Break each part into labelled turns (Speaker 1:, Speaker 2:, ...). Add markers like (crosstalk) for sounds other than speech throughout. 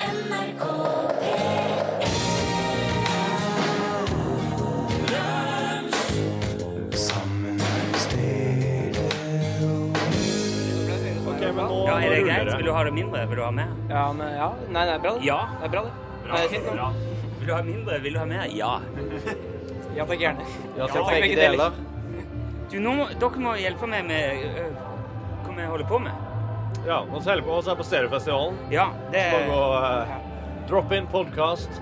Speaker 1: NRK
Speaker 2: Ja, er det greit? Vil du ha det mindre? Vil du ha mer?
Speaker 3: Ja, men ja. Nei, det er bra, det.
Speaker 2: Ja.
Speaker 3: Det er bra, det. Nei, det er fint, nå.
Speaker 2: Vil du ha mindre? Vil du ha mer? Ja.
Speaker 3: Ja takk, gjerne.
Speaker 4: Ja,
Speaker 3: Ja,
Speaker 4: til begge
Speaker 3: begge
Speaker 4: deler.
Speaker 2: Du, nå må, dere må hjelpe meg med øh, hva vi holder på med.
Speaker 4: Ja, nå selger på oss her på Stereofestivalen.
Speaker 2: Ja, det
Speaker 4: Må gå eh, Drop In Podcast.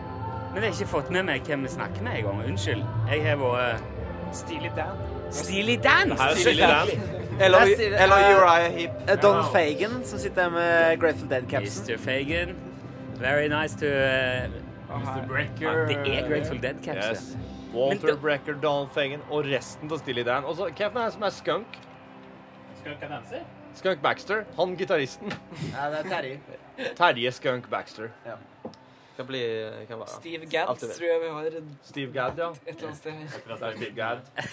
Speaker 2: Men jeg har ikke fått med meg hvem vi snakker med engang. Unnskyld. Jeg har øh, vært
Speaker 3: Stilig Dan.
Speaker 2: Steely Dan.
Speaker 4: Her er Silje Dan.
Speaker 5: Eller,
Speaker 2: Jeg sier-
Speaker 5: eller
Speaker 2: eh,
Speaker 5: Uriah Heep.
Speaker 4: Ja.
Speaker 5: Don Fagan, som sitter der med Grateful Dead-capsen.
Speaker 2: Mr. Fagan. Very nice to uh,
Speaker 3: Mr.
Speaker 2: ja, Det er Grateful Dead Caps.
Speaker 4: Yes.
Speaker 2: det.
Speaker 4: Walter
Speaker 2: Men da-
Speaker 4: Brecker, Donald Fagan og resten av Steely Dan. Og så hvem er det som er skunk? Skunk Baxter. Han gitaristen.
Speaker 5: Ja, det er Terje.
Speaker 4: Terje Skunk Baxter.
Speaker 5: Kan bli kan være.
Speaker 3: Steve Gadd
Speaker 5: Alt det der.
Speaker 3: tror jeg vi har et
Speaker 4: Steve Gadd, ja.
Speaker 3: eller annet sted her.
Speaker 4: Det er Steve Gadd.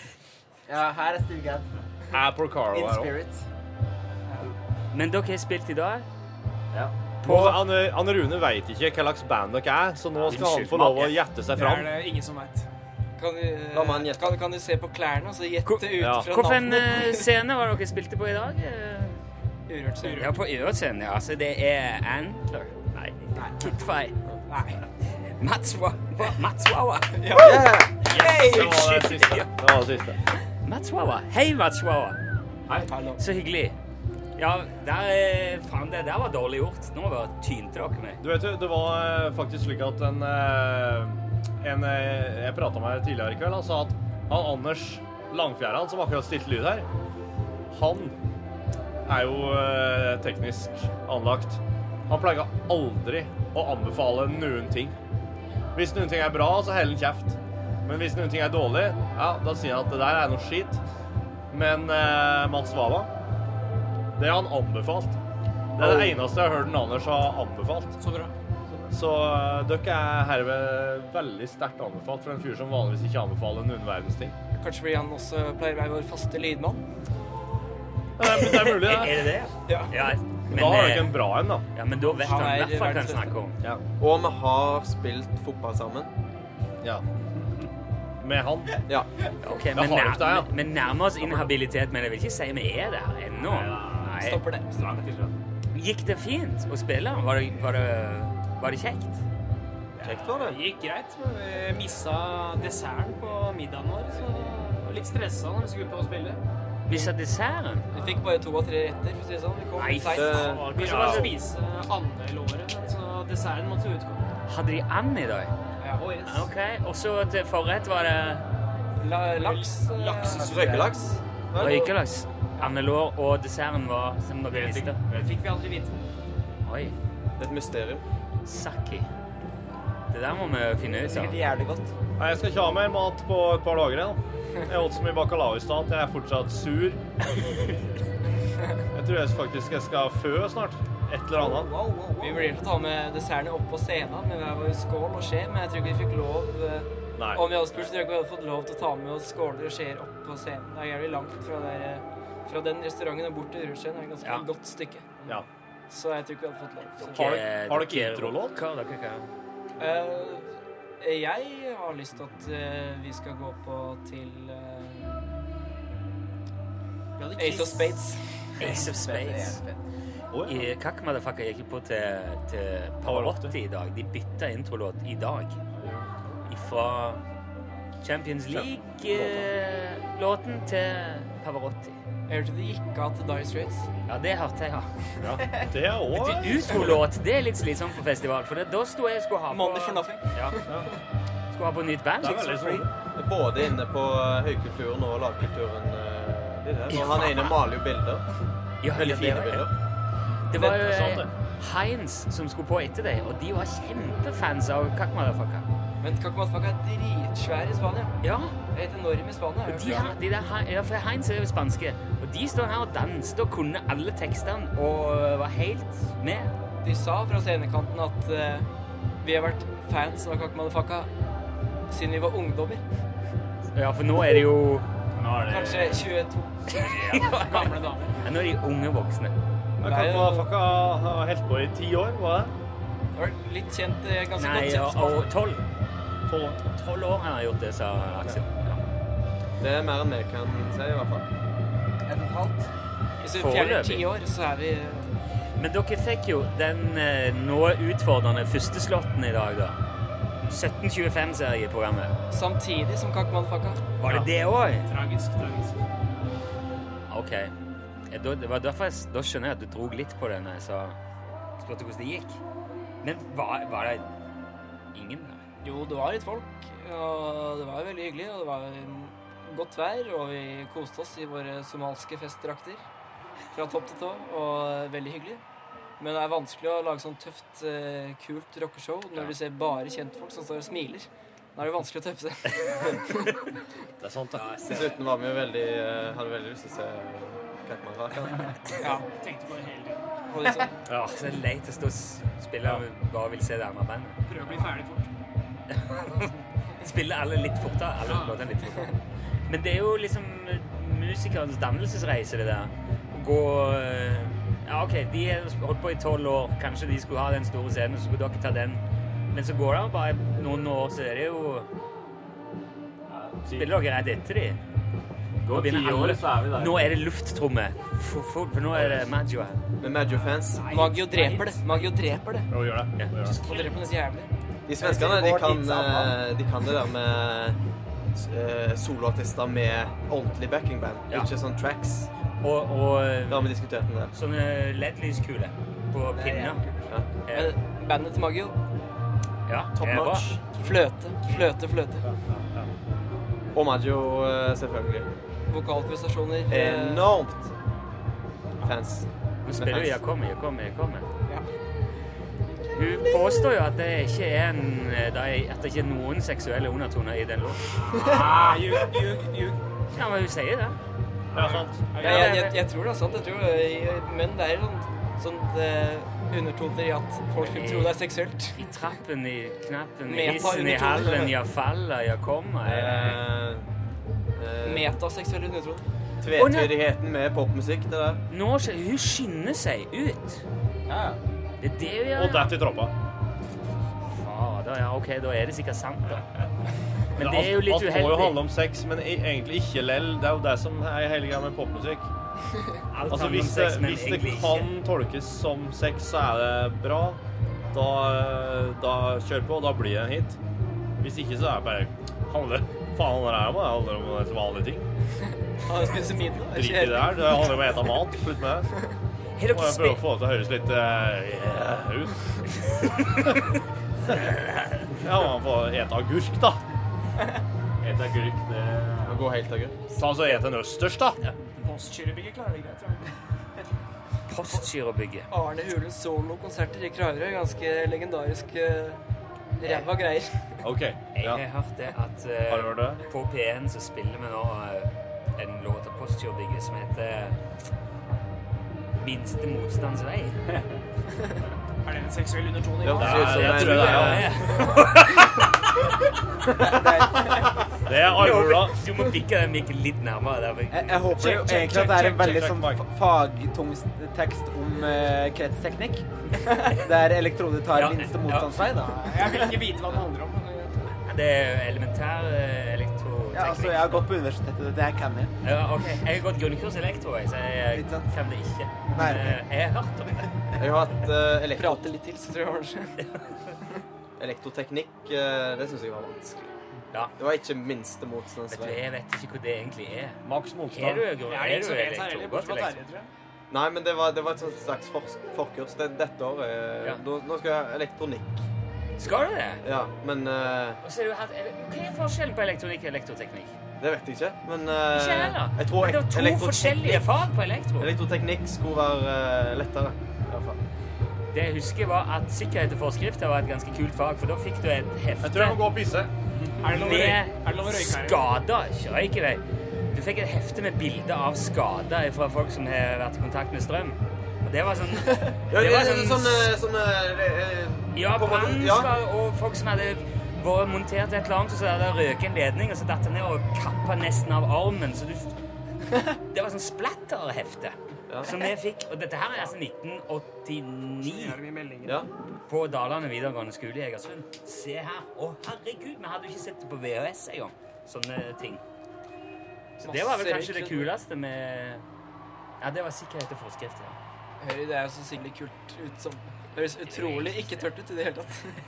Speaker 5: Ja, her er Steve Gadd.
Speaker 4: Er Porcaro
Speaker 5: In
Speaker 4: her òg.
Speaker 5: spirit.
Speaker 2: Men dere har spilt i dag?
Speaker 4: Anne Anne Rune veit ikke hva slags band dere er, så nå skal han
Speaker 2: Unnskyld
Speaker 4: få lov å
Speaker 2: meg.
Speaker 4: gjette seg
Speaker 3: Det er
Speaker 4: fram.
Speaker 3: det ingen som veit. Kan, du- eh,
Speaker 5: La meg gjette.
Speaker 3: kan, kan du se på klærne og så gjette
Speaker 2: Hvor-
Speaker 3: ut
Speaker 4: ja.
Speaker 3: fra
Speaker 2: Hvilken eh,
Speaker 3: navnet?
Speaker 2: scene var det dere spilte på i dag? eh?
Speaker 3: Urørt ser
Speaker 2: Ja, på Ørescenen, ja. Altså, det er Ann Nei. Kittfei.
Speaker 3: Nei.
Speaker 2: Mats Wa- Wa- Mats Wawa.
Speaker 5: Yeah.
Speaker 4: Det var det siste. Det var det siste.
Speaker 2: Mats Wawa. Hei, Mats Wawa.
Speaker 3: Hallo.
Speaker 2: Så hyggelig. Ja, der, eh, faen, det der var dårlig gjort. Nå bare tynte dere meg.
Speaker 4: Du vet jo, det var eh, faktisk slik at en, eh, en eh, Jeg prata med her tidligere i kveld. Han sa at han Anders Langfjæra, han som akkurat stilte lyd her, han er jo eh, teknisk anlagt. Han pleier aldri å anbefale noen ting. Hvis noen ting er bra, så heller han kjeft. Men hvis noen ting er dårlig, ja, da sier han at det der er noe skit. Men eh, Mats Wawa, det har han anbefalt. Det er det eneste jeg har hørt en Anders ha anbefalt.
Speaker 3: Så bra.
Speaker 4: Så øh, dere er herved veldig sterkt anbefalt for en fyr som vanligvis ikke anbefaler noen verdens ting.
Speaker 3: Kanskje fordi han også pleier å være vår faste lydmann?
Speaker 4: Det er, det er mulig,
Speaker 2: (laughs) Er
Speaker 4: det.
Speaker 2: det det?
Speaker 3: Ja.
Speaker 2: Ja, men,
Speaker 4: da har
Speaker 2: eh,
Speaker 4: dere en bra en, da.
Speaker 2: ja, men da vet
Speaker 3: Han
Speaker 2: han i
Speaker 3: er
Speaker 2: hvert fall hva han
Speaker 3: verdens
Speaker 2: snakker om.
Speaker 4: Ja.
Speaker 5: Og vi har spilt fotball sammen.
Speaker 4: Med han.
Speaker 5: Ja.
Speaker 2: Ok,
Speaker 4: har
Speaker 2: men,
Speaker 4: dere der, ja.
Speaker 2: nær, men nærmer oss inhabilitet, men jeg vil ikke si vi er der ennå. Nei.
Speaker 3: Stopper det.
Speaker 2: Gikk det fint å spille? Var det, var det, var det kjekt?
Speaker 5: Kjekt var det.
Speaker 6: gikk greit, men vi missa desserten på middagen vår, så vi var litt stressa når vi skulle på å spille.
Speaker 2: Vi sa desserten.
Speaker 3: Vi fikk bare to av tre retter, for å si det sånn. Vi kom
Speaker 2: Nei,
Speaker 3: seint.
Speaker 5: det-
Speaker 6: Vi skulle bare spise andre låret, men så desserten måtte utgå.
Speaker 2: Hadde de and i dag?
Speaker 3: Ja.
Speaker 6: Oh, yes.
Speaker 2: Ok, og så til forrett var det
Speaker 3: La, laks. eh,
Speaker 5: Røykelaks.
Speaker 2: røykelaks, andelår, og desserten var som dere visste.
Speaker 6: Det fikk vi aldri vite.
Speaker 2: Oi,
Speaker 5: Et mysterium.
Speaker 2: saki. Det der må vi finne ut av.
Speaker 5: jævlig godt.
Speaker 4: Nei, jeg skal ikke ha mer mat på et par dager igjen. Jeg åt så mye bacalao i stad at jeg er fortsatt sur. Jeg tror jeg faktisk jeg skal fø snart. Et eller annet.
Speaker 3: Vi vurderte å ta med dessertene opp på scenen med hver vår skål og skje, men jeg tror ikke vi fikk lov. eh,
Speaker 4: Nei.
Speaker 3: Om vi hadde spurt, så tror jeg ikke vi hadde fått lov til å ta med oss skåler og skjeer opp på scenen. Det er jævlig langt fra, der, eh, fra den restauranten og bort til Rullskjeen. Det er et ganske
Speaker 2: Ja.
Speaker 3: godt stykke.
Speaker 4: Ja.
Speaker 3: Så jeg tror ikke vi hadde fått lov. Så.
Speaker 4: Har dere- har dere introlåt?
Speaker 2: Hva dere kan-
Speaker 3: Eh, jeg har lyst til at eh, vi skal gå på til eh,
Speaker 6: Vi hadde
Speaker 3: Ace of
Speaker 6: Kiss.
Speaker 3: Spades.
Speaker 2: Ace of Spades.
Speaker 4: Å, ja.
Speaker 2: I Kakk Motherfucker gikk jo på til, til Pavarotti i dag. De bytta introlåt i dag. Fra Champions League-låten til Pavarotti.
Speaker 3: Jeg hørte det gikk av til Dire Straits.
Speaker 2: Ja, det hørte jeg, ja.
Speaker 4: Ja, Det er òg
Speaker 2: Utrolåt, det er litt slitsomt på festival, for det, da sto jeg og skulle ha på
Speaker 3: Money for nothing.
Speaker 2: Ja. Skulle ha på nytt band.
Speaker 4: Det er
Speaker 2: liksom,
Speaker 4: veldig
Speaker 2: fordi-
Speaker 4: sånn.
Speaker 5: Både inne på eh, høykulturen og lavkulturen. eh, de der. Og han ene maler jo bilder.
Speaker 2: Ja,
Speaker 5: Veldig fine
Speaker 2: det,
Speaker 5: bilder.
Speaker 2: det var
Speaker 4: Det er sant,
Speaker 2: eh, Heinz som skulle på etter deg, og de var kjempefans av Kakk Motherfucker.
Speaker 3: Men Kakomatfaka er dritsvær i Spania.
Speaker 2: Ja,
Speaker 3: Helt enorm i Spania.
Speaker 2: og de, her, de der, Hein- ja, for Heinz er jo spanske, og de står her og danste og kunne alle tekstene og eh, var helt med.
Speaker 3: De sa fra scenekanten at eh, vi har vært fans av Kakmadafaka siden vi var ungdommer.
Speaker 2: Ja, for nå er det jo
Speaker 3: Kanskje 22.
Speaker 2: gamle damer. Nå er de unge voksne.
Speaker 4: Kakma Fakka har holdt på i ti år, var det?
Speaker 3: Det var litt kjent, eh, ganske
Speaker 2: Nei,
Speaker 3: godt
Speaker 2: og
Speaker 3: kjent.
Speaker 2: og tolv.
Speaker 4: Tolv år.
Speaker 2: Tolv år han har gjort det, sa Aksel. Ja.
Speaker 5: Det er mer enn vi kan si, i hvert fall.
Speaker 1: Ett og et halvt.
Speaker 3: Hvis vi fjerner
Speaker 2: foreløpig.
Speaker 3: ti år, så er vi eh,
Speaker 2: Men dere fikk jo den eh, noe utfordrende førsteslåtten i dag, da. 1725-serie i programmet.
Speaker 3: samtidig som Kakmanfaka.
Speaker 2: Var det det òg?
Speaker 6: Tragisk, tragisk.
Speaker 2: OK. Eh, Da, det var derfor jeg, s- da skjønner jeg at du dro litt på den da jeg sa Spurte hvordan det gikk. Men var, var det ingen der?
Speaker 3: Jo, det var litt folk, og det var veldig hyggelig, og det var mm, godt vær, og vi koste oss i våre somalske festdrakter fra topp til tå, og veldig hyggelig. Men det er vanskelig å lage sånn tøft, eh, kult rockeshow når du ser bare kjentfolk som står og smiler. Da er det vanskelig å tøffe
Speaker 5: (laughs)
Speaker 3: seg.
Speaker 4: Det er sant, det.
Speaker 5: Dessuten var vi jo veldig eh, Hadde veldig lyst til å se Katmanraka.
Speaker 3: Ja,
Speaker 6: Tenkte på det hele tiden.
Speaker 3: og liksom,
Speaker 2: Ja. Så det er leit å stå og s- spille og bare vil se det andre bandet.
Speaker 6: Prøve å bli ferdig fort.
Speaker 2: (laughs) Spille alle litt fortere. Alle låtene litt fortere. Men det er jo liksom musikernes dannelsesreise, det der. Å Gå eh, Ja, OK, de har holdt på i tolv år. Kanskje de skulle ha den store scenen, så skulle dere ta den. Men så går det jo bare noen år, så er det jo Spiller dere rett etter de? Nå
Speaker 4: Går ti
Speaker 2: begynner
Speaker 4: år,
Speaker 2: alle
Speaker 4: så er vi der.
Speaker 2: Nå er det lufttromme. For, for, for nå er det Maggio her.
Speaker 5: Med Maggio-fans.
Speaker 3: Magio dreper det. Magio dreper det.
Speaker 4: Jo, gjør det.
Speaker 2: Ja.
Speaker 4: Jo, gjør det.
Speaker 3: Og dreper det så jævlig.
Speaker 5: De svenskene de kan, eh, de kan det der med eh, soloartister med ordentlig backingband.
Speaker 2: Ja.
Speaker 5: Ikke sånn tracks.
Speaker 2: Og, og eh,
Speaker 5: Det har vi diskutert en del.
Speaker 2: sånne LED-lyskuler på pinner.
Speaker 5: Ja.
Speaker 2: Eh,
Speaker 3: Men bandet til Magio,
Speaker 2: Ja,
Speaker 5: Top
Speaker 2: det er bra.
Speaker 5: notch.
Speaker 3: fløte, fløte, fløte.
Speaker 5: Og Maggio, eh, selvfølgelig.
Speaker 3: Vokalprestasjoner. eh,
Speaker 5: Enormt fans.
Speaker 2: Hun spiller jo
Speaker 5: Med fans.
Speaker 2: 'Jeg kommer, jeg kommer, jeg kommer'.
Speaker 3: eh, Ja.
Speaker 2: Hun påstår jo at det ikke er en eh, det er- At det ikke er noen seksuelle undertoner i den låten.
Speaker 6: Ah, ljug, ljug, ljug.
Speaker 2: Ja, men hun sier det.
Speaker 4: Ja, sant.
Speaker 3: Ja, jeg, jeg, jeg tror det er sant. Jeg tror, eh, men det er sånn, sånt eh, undertoner i at folk skulle tro det er seksuelt.
Speaker 2: I trappen, i knappen, i
Speaker 3: Meta
Speaker 2: hissen, i
Speaker 3: undertoner.
Speaker 2: hallen, jeg faller, jeg kommer. Å
Speaker 5: Eh, eh,
Speaker 3: Metaseksuelle undertoner.
Speaker 5: Tvetydigheten med popmusikk, det der.
Speaker 2: Nå skje- Hun skynder seg ut. Det er det hun gjør.
Speaker 4: Og datt i troppa.
Speaker 2: Fader, ja, OK, da er det sikkert sant, da.
Speaker 4: Altså,
Speaker 2: Men
Speaker 4: Ja,
Speaker 2: det er jo litt
Speaker 4: alt- Alt må jo handle
Speaker 2: uheldig.
Speaker 4: om sex, men e- egentlig ikke lell. Det er jo det som er hele greia med popmusikk.
Speaker 2: Alt
Speaker 4: Altså,
Speaker 2: handler om
Speaker 4: hvis det,
Speaker 2: sex, men
Speaker 4: hvis det
Speaker 2: egentlig ikke.
Speaker 4: kan tolkes som sex, så er det bra. Da, eh, da kjør på, da blir det en hit. Hvis ikke, så er det bare handler, Faen, det her om, det handler om en vanlig ting.
Speaker 3: Han spiser middag.
Speaker 4: Drit i det her. Det handler om å ete mat. Slutt med det. Må
Speaker 2: Har dere
Speaker 4: jeg prøve å
Speaker 2: spilt
Speaker 4: få det til å høres litt eh, yeah, ut. (laughs) Ja, man får ete agurk, da. Ete agurk, det
Speaker 5: Å gå helt agurk.
Speaker 4: Ta så et en østers, da.
Speaker 6: Postkyrrebygget klarer det greit. tror jeg.
Speaker 2: Postgirobygget?
Speaker 3: Arne Hules solokonserter i Kragerø. Ganske legendarisk. eh, Ræva greier.
Speaker 4: OK.
Speaker 2: Jeg
Speaker 4: Ja.
Speaker 2: har hørt det at eh,
Speaker 4: Har du hørt det?
Speaker 2: på P1 så spiller vi nå eh, en låt av Postgirobygget som heter Minste motstands vei.
Speaker 6: Er det en seksuell undertone i
Speaker 5: Det
Speaker 6: dag?
Speaker 5: hørtes ut som
Speaker 4: det
Speaker 5: en-
Speaker 4: tror jeg, ja. Det er armhula.
Speaker 2: Du må bikke den mikken litt nærmere. Der. men-
Speaker 1: Jeg, jeg håper jo
Speaker 4: Check, check,
Speaker 1: egentlig at det er
Speaker 4: check,
Speaker 1: en veldig
Speaker 4: check,
Speaker 1: sånn
Speaker 4: check, check.
Speaker 1: fa- fagtung s- tekst om eh, kretsteknikk. Der elektroner tar
Speaker 2: Ja,
Speaker 1: minste
Speaker 2: ja.
Speaker 1: motstandsvei, da.
Speaker 6: Jeg vil ikke vite hva den handler om. men eh, det-
Speaker 2: Det er elementær eh, elektroteknikk.
Speaker 1: Ja, altså, jeg har gått på universitetet, det her kan jeg.
Speaker 2: Ja, ok. Jeg har gått grunnkurs i elektro, jeg, så jeg eh,
Speaker 1: Litt sant.
Speaker 2: kan det ikke.
Speaker 1: Nei.
Speaker 2: Men eh, jeg har hørt om det.
Speaker 5: Jeg har hatt eh, elektro
Speaker 3: Prate litt til, så tror jeg kanskje.
Speaker 5: (laughs) elektroteknikk. eh, det syns jeg var vanskelig.
Speaker 2: Ja.
Speaker 5: Det var ikke minste
Speaker 2: Vet du,
Speaker 5: motstandsvei.
Speaker 2: jeg vet ikke hva det egentlig er.
Speaker 4: Maks
Speaker 2: Er du,
Speaker 4: motstand.
Speaker 2: er du
Speaker 6: Jeg er ikke så redd her heller,
Speaker 2: elektro?
Speaker 6: bortsett
Speaker 2: Godt
Speaker 6: fra
Speaker 2: elektro.
Speaker 6: Terje, tror jeg.
Speaker 5: Nei, men det var, det var et sånt slags fors- forkurs. Det, dette året eh,
Speaker 2: Ja.
Speaker 5: nå, nå skal jeg elektronikk.
Speaker 2: Skal du det?
Speaker 5: Ja, men eh,
Speaker 2: Og så har du hatt, ele- Hva er forskjellen på elektronikk og elektroteknikk?
Speaker 5: Det vet jeg ikke. Men eh,
Speaker 2: Ikke heller.
Speaker 5: jeg tror
Speaker 2: Men det er to
Speaker 5: elektroteknikk-
Speaker 2: forskjellige fag på elektro.
Speaker 5: Elektroteknikk skulle være eh, lettere. I hvert fall.
Speaker 2: Det jeg husker, var at sikkerhet og forskrifter var et ganske kult fag, for da fikk du et hefte
Speaker 4: Jeg tror jeg må gå og pisse.
Speaker 6: Er det lov å røyke- er det lov å
Speaker 2: med
Speaker 6: røyke her?
Speaker 2: skader. Ikke Røyk i vei. Du fikk et hefte med bilder av skader fra folk som har vært i kontakt med strøm. Og det var sånn
Speaker 5: Ja,
Speaker 2: Det var
Speaker 5: det- det- sånn,
Speaker 2: sånn
Speaker 5: eh, sånn, eh, det, eh,
Speaker 2: Ja,
Speaker 5: på en måte- ja.
Speaker 2: brannskade og folk som hadde vært montert et eller annet, og så hadde det røket en ledning, og så
Speaker 5: (laughs)
Speaker 2: datt det ned og kappa nesten av armen, så du Det var sånn splatterhefte.
Speaker 5: Ja.
Speaker 2: Som vi fikk. Og dette her er altså 1989
Speaker 6: Gjør vi meldinger.
Speaker 5: Ja.
Speaker 2: på Dalane videregående skole i Egersund. Se her. Å, herregud, vi hadde jo ikke sett det på VHS engang. Sånne ting. Så det var vel
Speaker 3: Masse
Speaker 2: kanskje det
Speaker 3: rekrutter.
Speaker 2: kuleste med Ja, det var sikkerhet og forskrift. Ja.
Speaker 3: Hører det er jo så sikkert kult ut som Høres utrolig ikke tørt ut i det hele tatt.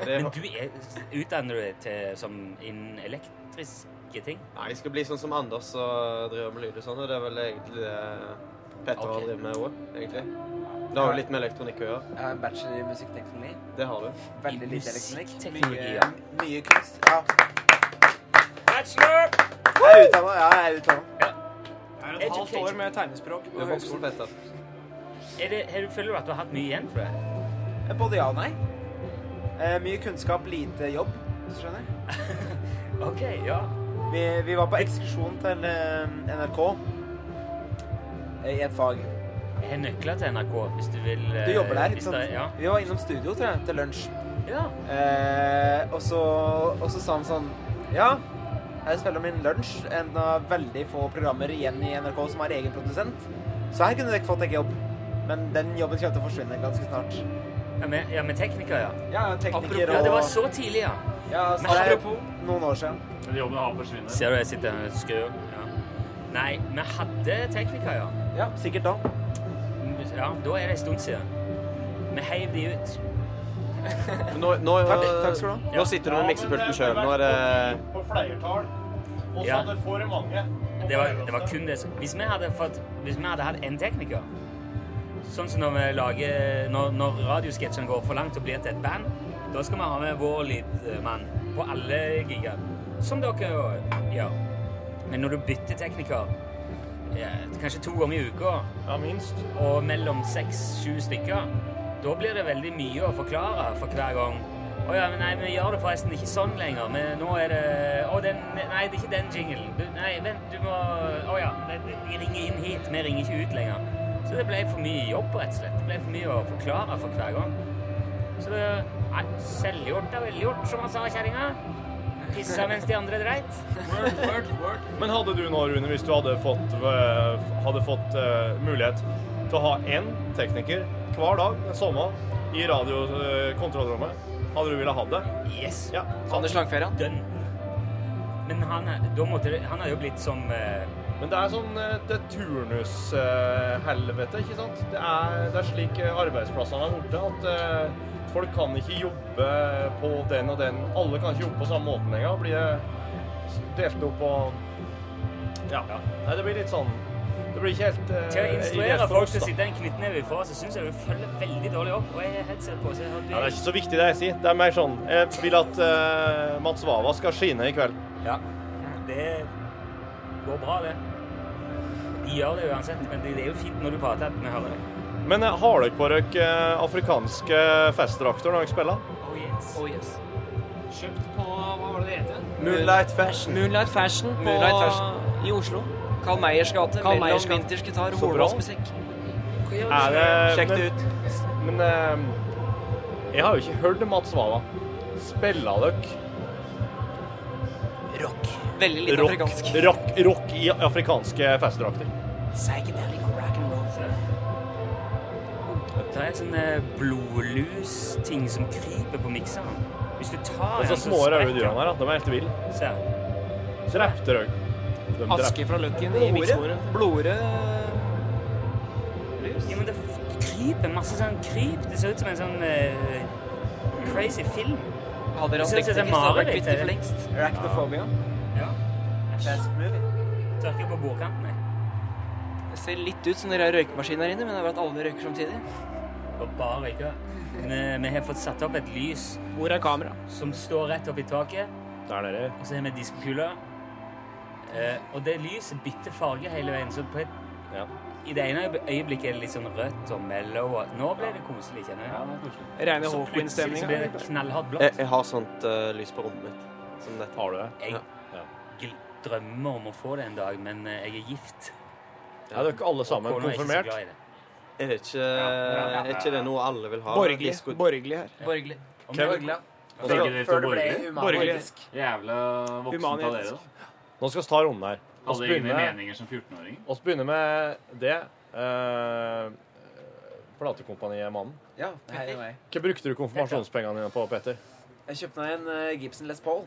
Speaker 5: Det,
Speaker 2: Men du er, utdanner du deg til som innen elektriske ting?
Speaker 5: nei, jeg skal bli sånn som Anders og driver med lyd og sånn, og det er vel egentlig det Petter
Speaker 2: Ok.
Speaker 5: har drevet med òg, egentlig. Det har jo litt med elektronikk å gjøre.
Speaker 1: Jeg har en bachelor i musikkteknologi.
Speaker 5: Det har du.
Speaker 1: Veldig
Speaker 2: I
Speaker 1: lite elektronikk.
Speaker 2: musikkteknologi, ja.
Speaker 1: Mye, mye kunst. Ja.
Speaker 2: Bachelor!
Speaker 1: Jeg er utdanna. Ja, jeg er utdannet.
Speaker 6: Jeg har et halvt år med tegnespråk
Speaker 5: Du
Speaker 6: på
Speaker 5: er voksen,
Speaker 6: høgskolen.
Speaker 5: Petter.
Speaker 2: Er det, har du- føler du at du har hatt mye igjen for det?
Speaker 1: Både ja og nei. Eh, mye kunnskap, lite jobb. hvis du Skjønner.
Speaker 2: OK, ja.
Speaker 1: Vi, vi var på ekskursjon til eh, NRK eh, i et fag.
Speaker 2: Jeg har nøkler til NRK hvis du vil eh,
Speaker 1: Du jobber der,
Speaker 2: hvis
Speaker 1: ikke sant?
Speaker 2: det- Ja.
Speaker 1: Vi var innom studio tror jeg, til lunsj.
Speaker 2: ja.
Speaker 1: Eh, og, så, og så sa han sånn Ja, her spiller min lunsj. En av veldig få programmer igjen i NRK som har egen produsent. Så her kunne dere fått dere jobb. Men den jobben kommer til å forsvinne ganske snart.
Speaker 2: Ja, med, ja, med tekniker, ja.
Speaker 1: Ja, tekniker
Speaker 2: Ja,
Speaker 1: og
Speaker 2: det var så tidlig, ja.
Speaker 1: ja, så
Speaker 2: Men
Speaker 1: det er
Speaker 2: apropos-
Speaker 1: noen år siden.
Speaker 4: Men jobben har forsvunnet.
Speaker 2: Ser du jeg sitter her og skrur? Ja. Nei, vi hadde tekniker, ja.
Speaker 1: Ja, sikkert da.
Speaker 2: Ja, Da er det en stund siden. Vi heiv de ut.
Speaker 5: Men Nå, nå,
Speaker 1: Takk, takk skal du ha.
Speaker 5: nå sitter du med miksepulten sjøl. Nå er det
Speaker 4: På fleiertall. Og
Speaker 2: eh, Ja.
Speaker 4: så det for mange. Og
Speaker 2: Det var,
Speaker 4: for
Speaker 2: det var kun det som Hvis vi hadde fått Hvis vi hadde hatt en tekniker Sånn som når vi lager Når, når radiosketsjen går for langt og blir til et band, da skal vi ha med vår lydmann på alle gigger. Som dere jo gjør. Men når du bytter tekniker ja, kanskje to ganger i uka
Speaker 4: Ja, minst.
Speaker 2: og mellom seks-sju stykker, da blir det veldig mye å forklare for hver gang. Å ja, men nei, vi gjør det forresten ikke sånn lenger, men nå er det Å, den Nei, det er ikke den jinglen. Du, nei, vent, du må Å ja, nei, de de ringer inn hit, vi ringer ikke ut lenger. Så det ble for mye jobb, rett og slett. Det ble for mye å forklare for hver gang. Så det Nei, selvgjort er velgjort, som han sa, kjerringa. Pissa mens de andre dreit.
Speaker 6: Word, word, word.
Speaker 4: Men hadde du nå, Rune, hvis du hadde fått, eh, hadde fått eh, mulighet til å ha én tekniker hver dag den sommeren i radiokontrollrommet, hadde du ville hatt det?
Speaker 2: Yes.
Speaker 4: Ja.
Speaker 3: Anders Langfjæran.
Speaker 2: Dønn. Men han, er- da måtte, det- han er jo blitt som eh,
Speaker 4: Men det er sånn eh, det er turnushelvete, ikke sant? Det er, det er slik eh, arbeidsplassene er borte, at eh, folk kan ikke jobbe på den og den. Alle kan ikke jobbe på samme måten lenger. Blir det delt opp og Ja. Nei, det blir litt sånn Det blir ikke helt eh,
Speaker 2: Til å
Speaker 4: ideelt
Speaker 2: instruere
Speaker 4: for
Speaker 2: folk
Speaker 4: oss,
Speaker 2: til å
Speaker 4: da.
Speaker 2: sitte en knyttneve ifra, så syns jeg du følger veldig dårlig opp. Og jeg har headset på, så jeg har
Speaker 4: Ja, det er ikke så viktig det jeg sier. Det er mer sånn Jeg vil at eh, Mats Wawa skal skine i kveld.
Speaker 2: Ja. Det går bra, det. De gjør det uansett, men det det er jo fint når du prater at vi hører det.
Speaker 4: Men eh, har dere på dere eh, afrikanske festdrakter når dere spiller?
Speaker 6: Oh yes.
Speaker 3: Oh yes.
Speaker 6: Kjøpt på Hva var det det het? igjen?
Speaker 5: Moonlight Fashion.
Speaker 3: Moonlight Fashion, på,
Speaker 5: Moonlight Fashion.
Speaker 3: i Oslo. Carl Meyers gate.
Speaker 5: Carl Meyers
Speaker 3: Mellom
Speaker 5: gate.
Speaker 3: vinters gitar og
Speaker 4: Så bra.
Speaker 3: hornblåsmusikk.
Speaker 4: Er det
Speaker 5: Sjekk det
Speaker 4: Eh, men-
Speaker 5: ut.
Speaker 4: Men eh, jeg har jo ikke hørt Mats Wawa. Spilla dere
Speaker 3: Rock. Veldig litt
Speaker 4: rock,
Speaker 3: afrikansk.
Speaker 4: rock, rock i afrikanske festdrakter?
Speaker 3: Psychedelic rock and roll.
Speaker 2: Det er en sånn eh, blodlus-ting som kryper på mikseren. Hvis du tar
Speaker 4: Og så
Speaker 2: en,
Speaker 4: små røde dyra
Speaker 2: sprekker
Speaker 4: her, at de er helt ville.
Speaker 2: den. Se.
Speaker 4: Drepte dere? De drepte.
Speaker 6: Aske fra Løkken i miksebordet.
Speaker 3: Blodrød
Speaker 2: Ja, men det f- kryper masse sånn kryp. Det ser ut som en sånn eh, crazy film.
Speaker 3: Hadde
Speaker 2: Jeg
Speaker 3: dere
Speaker 2: synes
Speaker 3: hatt
Speaker 2: det er
Speaker 3: teknikk, så hadde dere
Speaker 2: mareritt,
Speaker 3: kvitt det
Speaker 2: det.
Speaker 3: for lengst.
Speaker 1: Arachnophobia.
Speaker 2: Ja. Æsj.
Speaker 1: Best movie.
Speaker 2: Tørker på bordkanten, jeg.
Speaker 3: Det ser litt ut som dere har røykemaskin her inne, men det er bare at alle røyker samtidig.
Speaker 2: Og bare ikke. Men, eh, vi har fått satt opp et lys
Speaker 6: Hvor er kamera?
Speaker 2: som står rett opp i taket,
Speaker 4: Der dere.
Speaker 2: og så har vi diskokuler. Eh, og det lyset bytter farge hele veien, så på et,
Speaker 4: Ja.
Speaker 2: i det ene øyeb- øyeblikket er det litt sånn rødt og mellow. Og, nå ble det koselig, kjenner jeg.
Speaker 6: Reine
Speaker 2: Så plutselig så
Speaker 6: Hawkwind-stemninga.
Speaker 2: blir det knallhardt
Speaker 5: Jeg,
Speaker 2: blått.
Speaker 5: jeg har sånt eh, lys på rommet mitt. Som dette.
Speaker 4: Har du det?
Speaker 2: Jeg
Speaker 4: Ja.
Speaker 2: gl- drømmer om å få det en dag, men eh, jeg er gift.
Speaker 4: Er dere alle sammen
Speaker 2: Kona er ikke så
Speaker 4: konfirmert?
Speaker 2: glad i det.
Speaker 5: Er det ikke,
Speaker 6: ja, ja.
Speaker 5: er ikke det noe alle vil ha?
Speaker 6: Borgerlig.
Speaker 5: Disco-
Speaker 6: Borgerlig her.
Speaker 3: Borgerlig.
Speaker 2: Og
Speaker 4: Hvem-
Speaker 2: vi-
Speaker 1: Før,
Speaker 7: Begge dere to
Speaker 1: før det ble
Speaker 7: borgerlige?
Speaker 6: Borgerlig.
Speaker 1: humanitisk.
Speaker 7: Jævla voksent av
Speaker 6: Humanetisk.
Speaker 7: dere, da.
Speaker 4: Nå skal vi ta runden her.
Speaker 7: Hadde
Speaker 4: Vi
Speaker 7: egne
Speaker 4: begynner,
Speaker 7: meninger som 14-åringer.
Speaker 4: oss begynner med det eh, platekompaniet Mannen.
Speaker 1: Ja, hei til meg.
Speaker 4: Hva brukte du konfirmasjonspengene dine på, Petter?
Speaker 1: Jeg kjøpte meg en eh, Gibson Les Paul.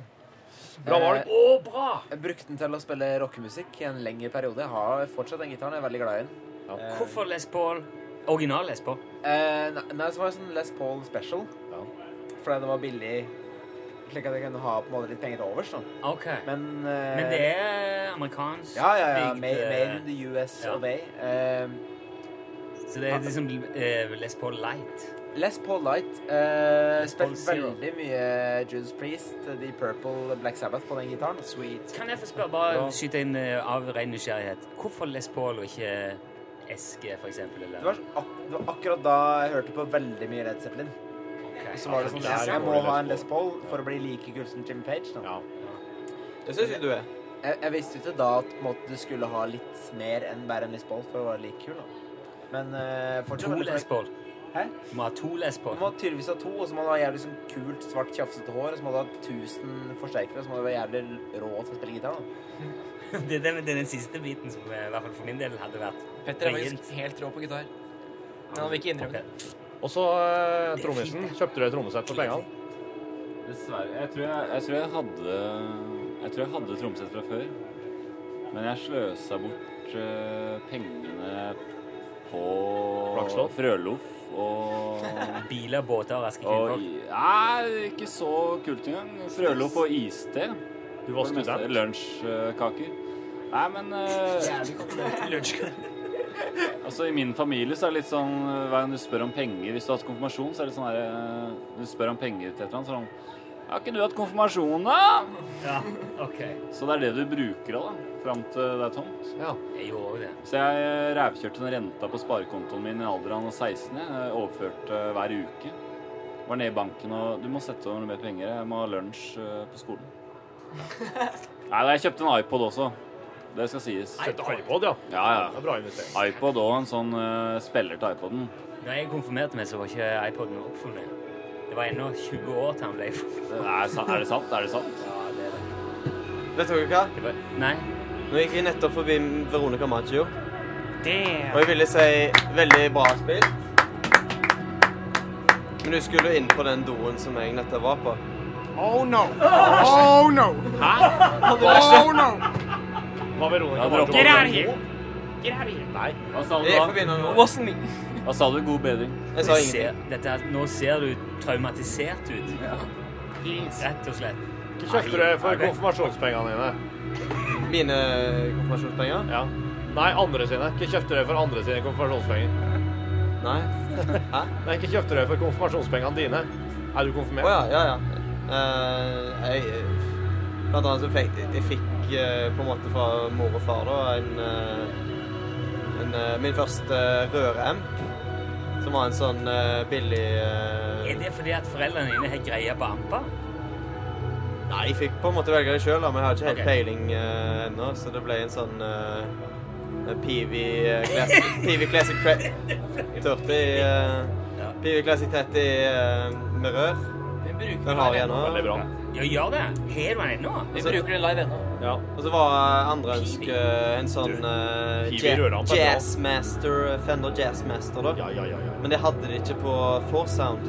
Speaker 4: Bra valg.
Speaker 1: Eh,
Speaker 4: Å, bra!
Speaker 1: Jeg brukte den til å spille rockemusikk i en lengre periode. Jeg har fortsatt den gitaren. Jeg er veldig glad i den.
Speaker 4: Ja.
Speaker 1: Eh,
Speaker 2: Hvorfor Les Paul? Original Les Paul.
Speaker 1: Eh, nei, nei, så var det sånn Les Paul Special.
Speaker 4: Ja.
Speaker 1: Fordi den var billig, slik at jeg kunne ha på en måte litt penger til overs. Sånn.
Speaker 2: Ok. Men,
Speaker 1: Men, eh,
Speaker 2: det er amerikansk
Speaker 1: Ja, ja, ja.
Speaker 2: bygd,
Speaker 1: Made,
Speaker 2: eh,
Speaker 1: made in the US
Speaker 2: ja.
Speaker 1: of A. Eh,
Speaker 2: Så det er liksom eh, Les Paul Light.
Speaker 1: Les Paul Light eh,
Speaker 2: Paul
Speaker 1: spilte
Speaker 2: Zero.
Speaker 1: veldig mye Judas Priest, eh, The Purple, Black Sabbath på den gitaren. Sweet.
Speaker 2: Kan jeg få spørre, bare
Speaker 4: Ja.
Speaker 2: skyte inn eh, av ren nysgjerrighet, hvorfor Les Paul og ikke Eske, for eksempel? Eller?
Speaker 1: Det var, ak det var akkurat da jeg hørte på veldig mye Led Zeppelin.
Speaker 2: Ok. Altså,
Speaker 1: Så var det sånn
Speaker 4: Ja,
Speaker 1: Jeg
Speaker 4: det
Speaker 1: må
Speaker 4: var
Speaker 1: ha
Speaker 4: Les
Speaker 1: en Les Paul
Speaker 4: Ja.
Speaker 1: for å bli like kul som Jim Page. Da.
Speaker 4: Ja.
Speaker 5: Det syns jeg du er.
Speaker 1: Jeg, jeg visste jo ikke da at på en måte, du skulle ha litt mer enn bare en Les Paul for å være like kul. Da. Men eh, fortsatt
Speaker 2: To
Speaker 1: veldig
Speaker 2: Les
Speaker 1: flink.
Speaker 2: Paul.
Speaker 1: Hæ?
Speaker 2: Du må ha to Les Paul.
Speaker 1: Du må tydeligvis ha to, og så må du ha jævlig sånn kult, svart, tjafsete hår, og så må du ha 1000 forsterkere, og så må du være jævlig rå til å spille gitar.
Speaker 2: (laughs)
Speaker 1: da.
Speaker 2: Det, det, det er den siste biten som eh, i hvert fall for min del hadde vært
Speaker 3: Petter er
Speaker 2: vrient.
Speaker 3: faktisk helt rå på gitar. Men han vil ikke innrømme det.
Speaker 4: Og så eh, trommisen. Kjøpte du et trommesett for pengene?
Speaker 7: Dessverre. Jeg tror jeg, jeg tror jeg hadde Jeg tror jeg hadde trommesett fra før. Men jeg sløsa bort eh, pengene på
Speaker 4: Flakslodd?
Speaker 7: Frøloff og
Speaker 2: Biler, båter og raske
Speaker 7: og
Speaker 2: kvinnfolk.
Speaker 7: i, Nei, ikke så kult engang. Frøloff og iste.
Speaker 4: Du var
Speaker 7: For det meste.
Speaker 4: student.
Speaker 7: Lunsjkaker. Nei, men eh, (laughs) Altså, I min familie så er det litt sånn eh, Hver gang du spør om penger Hvis du har hatt konfirmasjon, så er det sånn her eh, Du spør om penger til et eller annet, så er det sånn Har ikke du hatt konfirmasjon, da?
Speaker 2: Ja, ok.
Speaker 7: Så det er det du bruker av, da. Fram til det er tomt.
Speaker 4: Ja.
Speaker 2: Jeg gjorde også det.
Speaker 7: Så jeg eh, rævkjørte den renta på sparekontoen min i alderen av 16. Jeg eh, overførte hver uke. Var nede i banken og Du må sette over noe mer penger. Jeg må ha lunsj eh, på skolen. Nei, da, jeg kjøpte en iPod også. Det skal sies.
Speaker 4: Kjøpte iPod, ja.
Speaker 7: Ja,
Speaker 4: Det
Speaker 7: ja.
Speaker 4: er bra investering.
Speaker 7: iPod og en sånn eh, spiller til iPoden.
Speaker 2: Når jeg konfirmerte meg, så var ikke iPoden oppfunnet. Det var ennå 20 år til han ble funnet.
Speaker 7: Det Er, sa- er det sant? Er det sant?
Speaker 2: Ja, det er det.
Speaker 5: Vet dere hva?
Speaker 2: det var... Nei,
Speaker 5: Nå gikk vi nettopp forbi Veronica Maggio, og
Speaker 6: Damn!
Speaker 5: jeg ville si veldig bra spilt. Men du skulle jo inn på den doen som jeg nettopp var på.
Speaker 8: Oh no! Oh no! Oh no!
Speaker 4: Hva Veronica
Speaker 7: Ja, dere
Speaker 4: Maggio-
Speaker 6: Get out of here! Get out of here!
Speaker 4: Nei.
Speaker 7: Hva sa du
Speaker 5: Jeg gikk
Speaker 7: da?
Speaker 5: forbi nå. nå.
Speaker 3: Wasn't me.
Speaker 7: Hva sa du? God bedring.
Speaker 5: Jeg sa
Speaker 2: du
Speaker 5: ingenting.
Speaker 2: ser, dette, er- nå ser du traumatisert ut. Rett og slett.
Speaker 4: Hva kjøpte du
Speaker 2: Nei,
Speaker 4: for
Speaker 2: det-
Speaker 4: konfirmasjonspengene dine?
Speaker 5: Mine konfirmasjonspenger?
Speaker 4: Ja. Nei, andre sine. Hva kjøpte du for andre sine konfirmasjonspenger?
Speaker 5: Nei. Hæ?
Speaker 4: Nei, hva kjøpte du for konfirmasjonspengene dine? Er du
Speaker 5: Å
Speaker 4: konfirmert?
Speaker 5: ja, ja, ja. Eh, jeg, eh, blant annet så fikk jeg fikk eh, på en måte fra mor og far da en, eh, en eh, Min første røremp, som var en sånn eh, billig eh,
Speaker 2: Er det fordi at foreldrene dine har greie på ampa?
Speaker 5: Nei, jeg fikk på en måte velge det sjøl, men jeg har ikke helt
Speaker 2: Ok.
Speaker 5: peiling eh, ennå, så det ble en sånn uh, Pivi eh,
Speaker 4: (laughs)
Speaker 5: Classic Pivi Classic Cre- 30 eh,
Speaker 2: Ja.
Speaker 5: Pivi Classic 30 eh, med rør.
Speaker 3: Vi bruker
Speaker 5: Den har jeg
Speaker 4: Veldig
Speaker 5: ennå.
Speaker 4: bra.
Speaker 2: Ja, gjør det. Har du den ennå?
Speaker 3: Vi bruker den live ennå.
Speaker 4: Ja.
Speaker 5: Og så var eh, andre ønske en sånn eh,
Speaker 4: Pivi
Speaker 5: ja-
Speaker 4: rører han på bra.
Speaker 5: Jazzmaster, eh, Fender Jazzmaster, da.
Speaker 4: Ja, ja, ja, ja.
Speaker 5: Men det hadde de ikke på Forsound.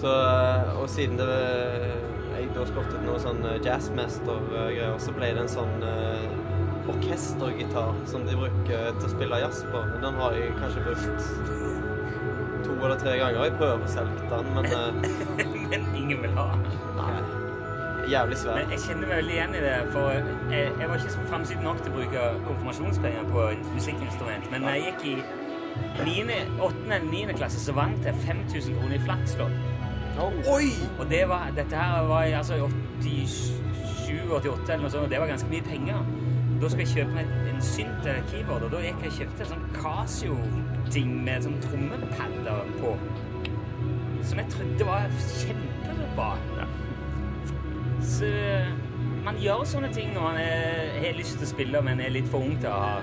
Speaker 5: Så, eh, og siden det eh, jeg da spurte noe sånn eh, jazzmester-greier, så ble det en sånn eh, orkestergitar som de bruker til å spille jazz på. Og Den har jeg kanskje brukt to eller tre ganger. Jeg prøver å selge den, men eh,
Speaker 2: (laughs) Men ingen vil ha.
Speaker 5: nei. Jævlig svær.
Speaker 2: Men jeg kjenner meg veldig igjen i det, for jeg, jeg var ikke så fremsynt nok til å bruke konfirmasjonspenger på et musikkinstrument, men når jeg gikk i 9., 8. eller 9. klasse, så vant jeg 5000 kroner i flakslodd.
Speaker 5: Oi!
Speaker 2: Og det var, dette her var i, altså, i 87-88 eller noe sånt, og det var ganske mye penger. Da skulle jeg kjøpe meg en synt eller et keyboard, og da gikk jeg og kjøpte en sånn Casio-ting med sånn trommepadder på, som jeg trodde var kjempebra. Så man gjør sånne ting når man er, har lyst til å spille, men er litt for ung til å ha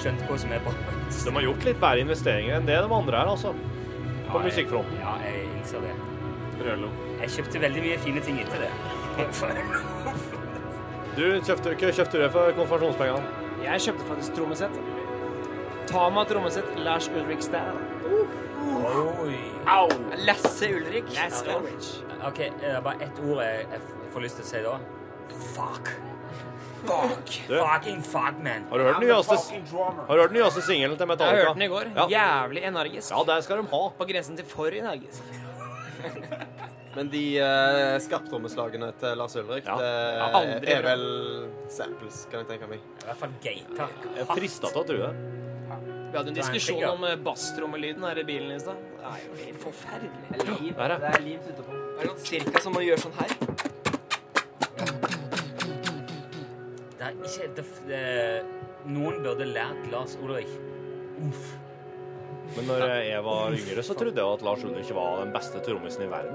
Speaker 2: skjønt hva som er
Speaker 4: (laughs)
Speaker 2: bra.
Speaker 4: De har gjort litt bedre investeringer enn det de andre her, altså. På
Speaker 2: Ja, jeg-
Speaker 4: musikkfronten.
Speaker 2: Ja, jeg innser det.
Speaker 7: Brølo.
Speaker 2: Jeg kjøpte veldig mye fine ting etter
Speaker 4: (laughs)
Speaker 2: det.
Speaker 4: Du, kjøpte, hva kjøpte du for konfirmasjonspengene?
Speaker 6: Jeg kjøpte faktisk trommesett. Ta meg et trommesett Lars Ulrik Style.
Speaker 2: Oi.
Speaker 6: Au! Lasse Ulrik.
Speaker 2: Lasse Ulrik. OK, er det bare ett ord jeg, jeg f- får lyst til å si da? Fuck.
Speaker 3: (laughs)
Speaker 2: Fuck. Fucking fuck, man.
Speaker 4: Har du hørt den nyeste, har du hørt den nyeste singelen til
Speaker 6: Jeg
Speaker 4: Metallica?
Speaker 6: hørte den i går.
Speaker 4: Ja.
Speaker 6: Jævlig energisk.
Speaker 4: ja, der skal de ha.
Speaker 6: På grensen til for energisk.
Speaker 5: Men de uh, skarptrommeslagene til Lars Ulrik,
Speaker 4: Ja.
Speaker 5: det er vel samples, kan jeg tenke meg.
Speaker 2: I hvert fall gater.
Speaker 4: Jeg frista til å tro det.
Speaker 6: Vi hadde en
Speaker 2: Det er en
Speaker 6: diskusjon
Speaker 2: ting, ja.
Speaker 6: om eh, basstrommelyden her i bilen i stad. Det er jo helt forferdelig.
Speaker 4: Der, ja.
Speaker 5: er liv ute på.
Speaker 3: Er det sånn cirka som å gjøre sånn her?
Speaker 2: Det er ikke det, f- det, Noen burde lært Lars Ulrik. Uff.
Speaker 4: Men når jeg var yngre, så trodde jeg at Lars Ulrik var den beste trommisen i verden.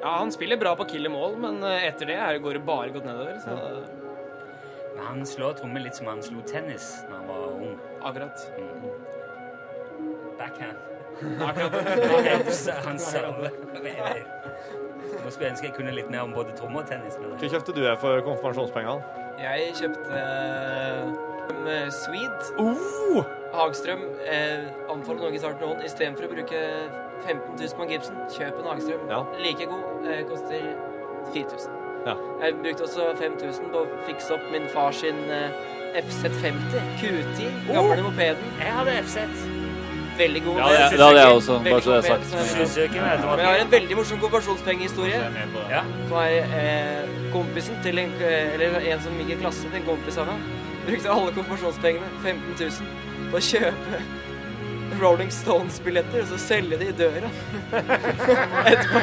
Speaker 6: Ja, han spiller bra på kill em all, men eh, etter det er- går det bare godt nedover. Så eh,
Speaker 2: Men han slår trommer litt som han slo tennis da han var ung.
Speaker 6: akkurat.
Speaker 2: Backhand. Akkurat.
Speaker 4: (laughs)
Speaker 2: Han server. (laughs) Nå skulle jeg ønske jeg kunne litt mer om både trommer og tennis. men
Speaker 4: Hva kjøpte du her for konfirmasjonspengene?
Speaker 3: Jeg kjøpte eh, med Swede.
Speaker 4: Oh!
Speaker 3: Hagstrøm eh, anbefaler Norge snart noen. Istedenfor å bruke 15 000 på en Gibson, kjøp en Hagstrøm.
Speaker 4: Ja.
Speaker 3: Like god. Eh, koster 4000.
Speaker 4: Ja.
Speaker 3: Jeg brukte også 5000 på å fikse opp min far sin eh, FZ50. Q10. Gamle mopeden.
Speaker 2: Jeg hadde FZ.
Speaker 3: Veldig god.
Speaker 7: Oh! Ja, det, det hadde jeg også, bare så det er
Speaker 3: Veldig
Speaker 7: sagt.
Speaker 3: god moped, så-
Speaker 2: Susøken, vet du
Speaker 3: Men
Speaker 2: hva.
Speaker 3: jeg har en veldig morsom konfirmasjonspengehistorie.
Speaker 2: Ja.
Speaker 3: Så er eh, kompisen til en, eh, eller en som gikk i klasse til en kompis av meg, brukte alle konfirmasjonspengene, 15 000, på å kjøpe (laughs) Rolling Stones-billetter og så selge det i døra. (laughs) Etterpå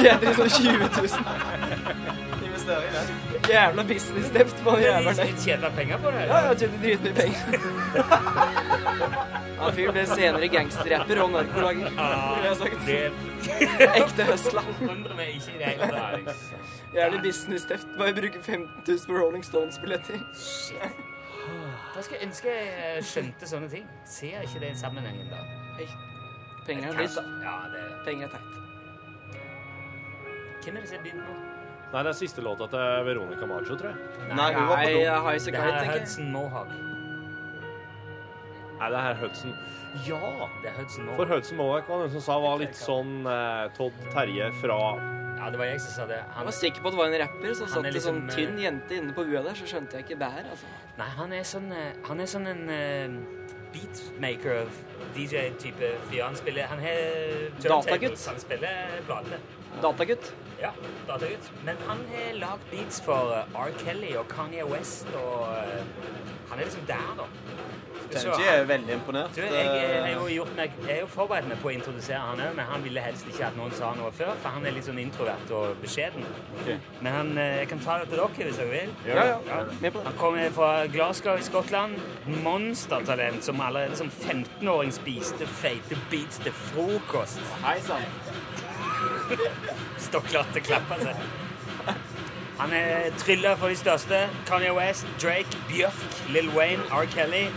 Speaker 3: tjener de sånn 20 000.
Speaker 5: Investerer i det.
Speaker 3: Jævla business-deft på den
Speaker 2: Men
Speaker 3: jævelen.
Speaker 2: de tjente penger på det?
Speaker 3: Ja, ja, tjente dritmye penger. (laughs) Han fyren ble senere gangsterrapper og narkolager. ville jeg sagt.
Speaker 2: Ah, Det
Speaker 3: Ekte høsla.
Speaker 2: forundrer meg ikke i det hele tatt.
Speaker 3: Jævlig business-teft. Bare bruke 15 000 på Rolling Stones-billetter.
Speaker 2: Shit. Da skal jeg ønske jeg skjønte sånne ting. Ser ikke den sammenhengen, da.
Speaker 3: Penger er dritt, da.
Speaker 2: Ja, det...
Speaker 3: Penger er teit.
Speaker 2: Hvem er det som er begynt nå?
Speaker 4: Nei, det er siste låta til Veronica Maggio, tror jeg.
Speaker 5: Nei, hun var på
Speaker 3: Nei,
Speaker 5: do.
Speaker 3: jeg har jo
Speaker 2: Det
Speaker 3: ikke
Speaker 2: her
Speaker 3: kite,
Speaker 2: er
Speaker 3: tenker jeg.
Speaker 2: Hudson Mohawk.
Speaker 4: Nei, det er her Hudson. Ja!
Speaker 2: Det er Hudson
Speaker 4: For
Speaker 2: Mohawk.
Speaker 4: Hudson Mohawk var den som sa var litt sånn eh, Todd Terje fra
Speaker 2: Ja, det var jeg som sa det.
Speaker 3: Jeg
Speaker 2: Han,
Speaker 3: var sikker på at det var en rapper, så
Speaker 2: Han
Speaker 3: satt
Speaker 2: er
Speaker 3: det sånn
Speaker 2: liksom, eh,
Speaker 3: tynn jente inne på bua der, så skjønte jeg ikke bær, altså.
Speaker 2: nei, han er sånn, eh, han er sånn en eh, beatmaker, DJ-type fyr. Han spiller Han har turntables.
Speaker 3: Datagutt.
Speaker 2: Han spiller plater.
Speaker 3: Datagutt.
Speaker 2: Ja, datagutt. Men han har lagd beats for eh, R. Kelly og Kanye West og eh, Han er liksom der, da. Så
Speaker 5: Tenji
Speaker 2: han-
Speaker 5: er veldig imponert.
Speaker 2: Du, jeg, jeg, har jo gjort meg, jeg er jo forberedt meg på å introdusere han òg, men han ville helst ikke at noen sa noe før, for han er litt sånn introvert og beskjeden.
Speaker 7: Ok.
Speaker 2: Men han, eh, jeg kan ta det til dere hvis dere vil.
Speaker 7: Ja, ja.
Speaker 3: Med på det.
Speaker 2: Han kommer fra Glasgow i Skottland. Monstertalent som allerede som 15-åring spiste feite beats til frokost.
Speaker 5: Hei sann.
Speaker 2: Står klar til å klappe seg. Han er tryller for de største. Kanye West, Drake, Bjørk, Lil Wayne, R. Kelly.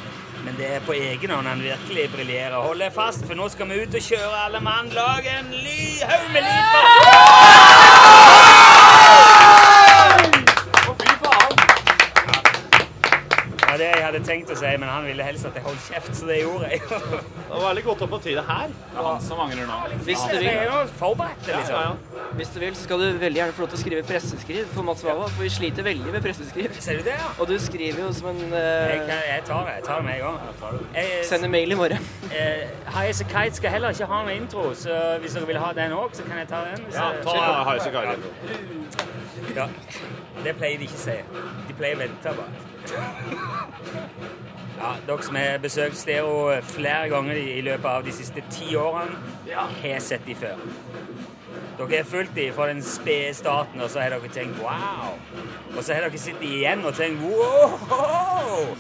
Speaker 2: Men det er på egen hånd han virkelig briljerer. Hold deg fast, for nå skal vi ut og kjøre, alle mann. Lag en lyhaug med lyd for Det var det jeg hadde tenkt å si, men han ville helst at jeg holdt kjeft, så det gjorde jeg.
Speaker 4: Det var veldig godt å få til det her.
Speaker 7: Det er han som angrer nå.
Speaker 3: Hvis du
Speaker 2: Jeg
Speaker 3: vil,
Speaker 2: er jo forberedt, liksom.
Speaker 3: hvis du vil, så skal du veldig gjerne få lov til å skrive presseskriv for Mats Wawa, for vi sliter veldig med presseskriv.
Speaker 2: Ser du det, ja?
Speaker 3: Og du skriver jo som en
Speaker 2: Jeg,
Speaker 3: eh,
Speaker 2: jeg tar det. Jeg tar det med en gang.
Speaker 3: Sender mail i morgen.
Speaker 2: Eh, High as a kite skal heller ikke ha noen intro, så hvis dere vil ha den òg, så kan jeg ta den. hvis
Speaker 4: Ja,
Speaker 2: jeg-
Speaker 4: ta Highasakite.
Speaker 2: Ja. Det pleier de ikke å si. De pleier å vente bare. Ja, dere som har besøkt Stereo flere ganger i i løpet av de siste ti årene, har sett de før. Dere har fulgt de fra den spede starten, og så har dere tenkt wow. Og så har dere sett de igjen og tenkt wow!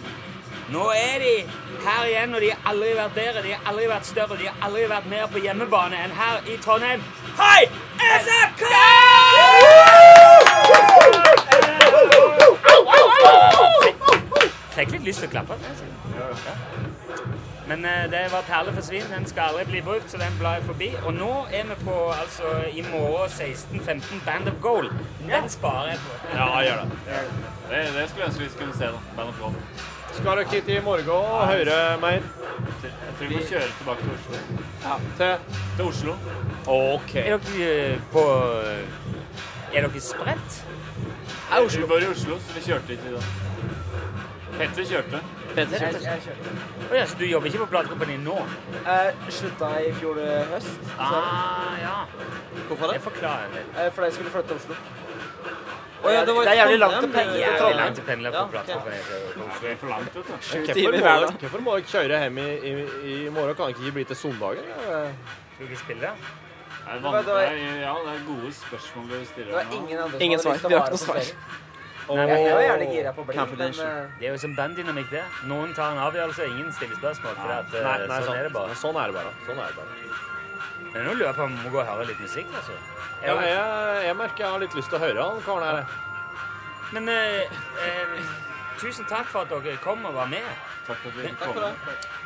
Speaker 2: Nå er de her igjen, og de har aldri vært bedre, de har aldri vært større, de har aldri vært mer på hjemmebane enn her i Trondheim. Hei! SFK! Fikk litt lyst til å klappe. Men eh, det var perle for svin. Den skal aldri bli brukt, så den blar jeg forbi. Og nå er vi på altså i morgen 16.15 Band of Gold. Den sparer jeg på.
Speaker 7: Ja, gjør det. Det, det skulle jeg ønske vi skulle se, da. Band of Gold.
Speaker 4: Skal dere hit i morgen og høre mer?
Speaker 7: Jeg tror vi må kjøre tilbake til Oslo.
Speaker 4: Til
Speaker 7: Til Oslo?
Speaker 4: OK.
Speaker 2: Er dere eh, på eh, Er dere spredt?
Speaker 7: Vi var i Oslo, så vi kjørte ikke i dag. Petter kjørte.
Speaker 3: Petter?
Speaker 1: Jeg, jeg kjører.
Speaker 2: Å ja, så du jobber ikke på platekompani nå?
Speaker 1: Eh, slutta i fjor eh, høst, så,
Speaker 2: Ah, ja.
Speaker 5: Hvorfor
Speaker 2: Det forklarer det.
Speaker 1: eh, fordi jeg skulle flytte til Oslo.
Speaker 5: Å ja,
Speaker 1: Det er jævlig
Speaker 5: Trondheim,
Speaker 1: langt å
Speaker 5: det- det
Speaker 1: pendle til
Speaker 5: er
Speaker 2: Jævlig
Speaker 1: Trondheim.
Speaker 2: langt å pendle på
Speaker 5: Ja,
Speaker 2: platekompani.
Speaker 7: Det er for langt, vet du.
Speaker 1: Sju
Speaker 4: Hvorfor må
Speaker 1: timer hver
Speaker 4: dere-
Speaker 1: dag.
Speaker 4: Hvorfor må dere kjøre hjem i, i, i morgen? Kan det ikke bli til søndag? eller?
Speaker 2: Skal dere spille?
Speaker 7: Det er,
Speaker 1: Det
Speaker 7: vanskelig.
Speaker 1: var-
Speaker 7: ja, det er gode spørsmål du stiller.
Speaker 1: Det var
Speaker 7: nå.
Speaker 1: ingen andre
Speaker 3: Ingen
Speaker 1: som
Speaker 3: svar.
Speaker 1: hadde
Speaker 3: Vi har ikke
Speaker 1: lyst til å være på
Speaker 3: noe svar.
Speaker 1: ferie. Jeg, jeg var gjerne gira på å bli, men
Speaker 5: Confidential.
Speaker 1: eh,
Speaker 2: Det er jo som banddynamikk, det. Noen tar en avgjørelse, og ingen stiller spørsmål. For at, eh,
Speaker 4: Nei, nei,
Speaker 2: sånn,
Speaker 4: sånn,
Speaker 2: er det bare.
Speaker 4: sånn er det bare. Sånn er det bare.
Speaker 2: Men nå lurer jeg på om vi må gå og høre litt musikk, altså.
Speaker 4: Ja,
Speaker 2: Er
Speaker 4: men
Speaker 2: det-
Speaker 4: jeg, jeg merker jeg har litt lyst til å høre han karen her.
Speaker 2: Men eh, eh, tusen takk for at dere kom og var med.
Speaker 7: Takk for at vi kom.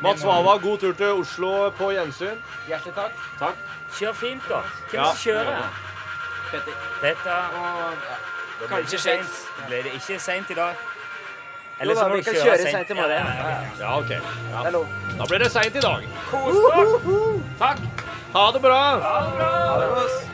Speaker 4: Mats Wawa, god tur til Oslo på gjensyn.
Speaker 1: hjertelig takk.
Speaker 2: Kjør fint, da. Hvem
Speaker 4: Ja.
Speaker 2: som kjører?
Speaker 3: Petter.
Speaker 2: Petter og Da ble det
Speaker 6: Kanskje
Speaker 2: ikke sent. Da Ble det ikke seint i dag? Eller
Speaker 1: Jo
Speaker 2: så
Speaker 1: da,
Speaker 2: må
Speaker 1: vi
Speaker 2: du
Speaker 1: kan
Speaker 2: kjøre
Speaker 1: kjøre
Speaker 2: sent.
Speaker 1: sent i morgen.
Speaker 2: Ja, ja, ja.
Speaker 4: Ja, OK.
Speaker 1: Det er lov.
Speaker 4: Da blir det seint i dag.
Speaker 2: Kos dere.
Speaker 4: Ha det bra.
Speaker 2: Ha det bra.
Speaker 1: Ha det.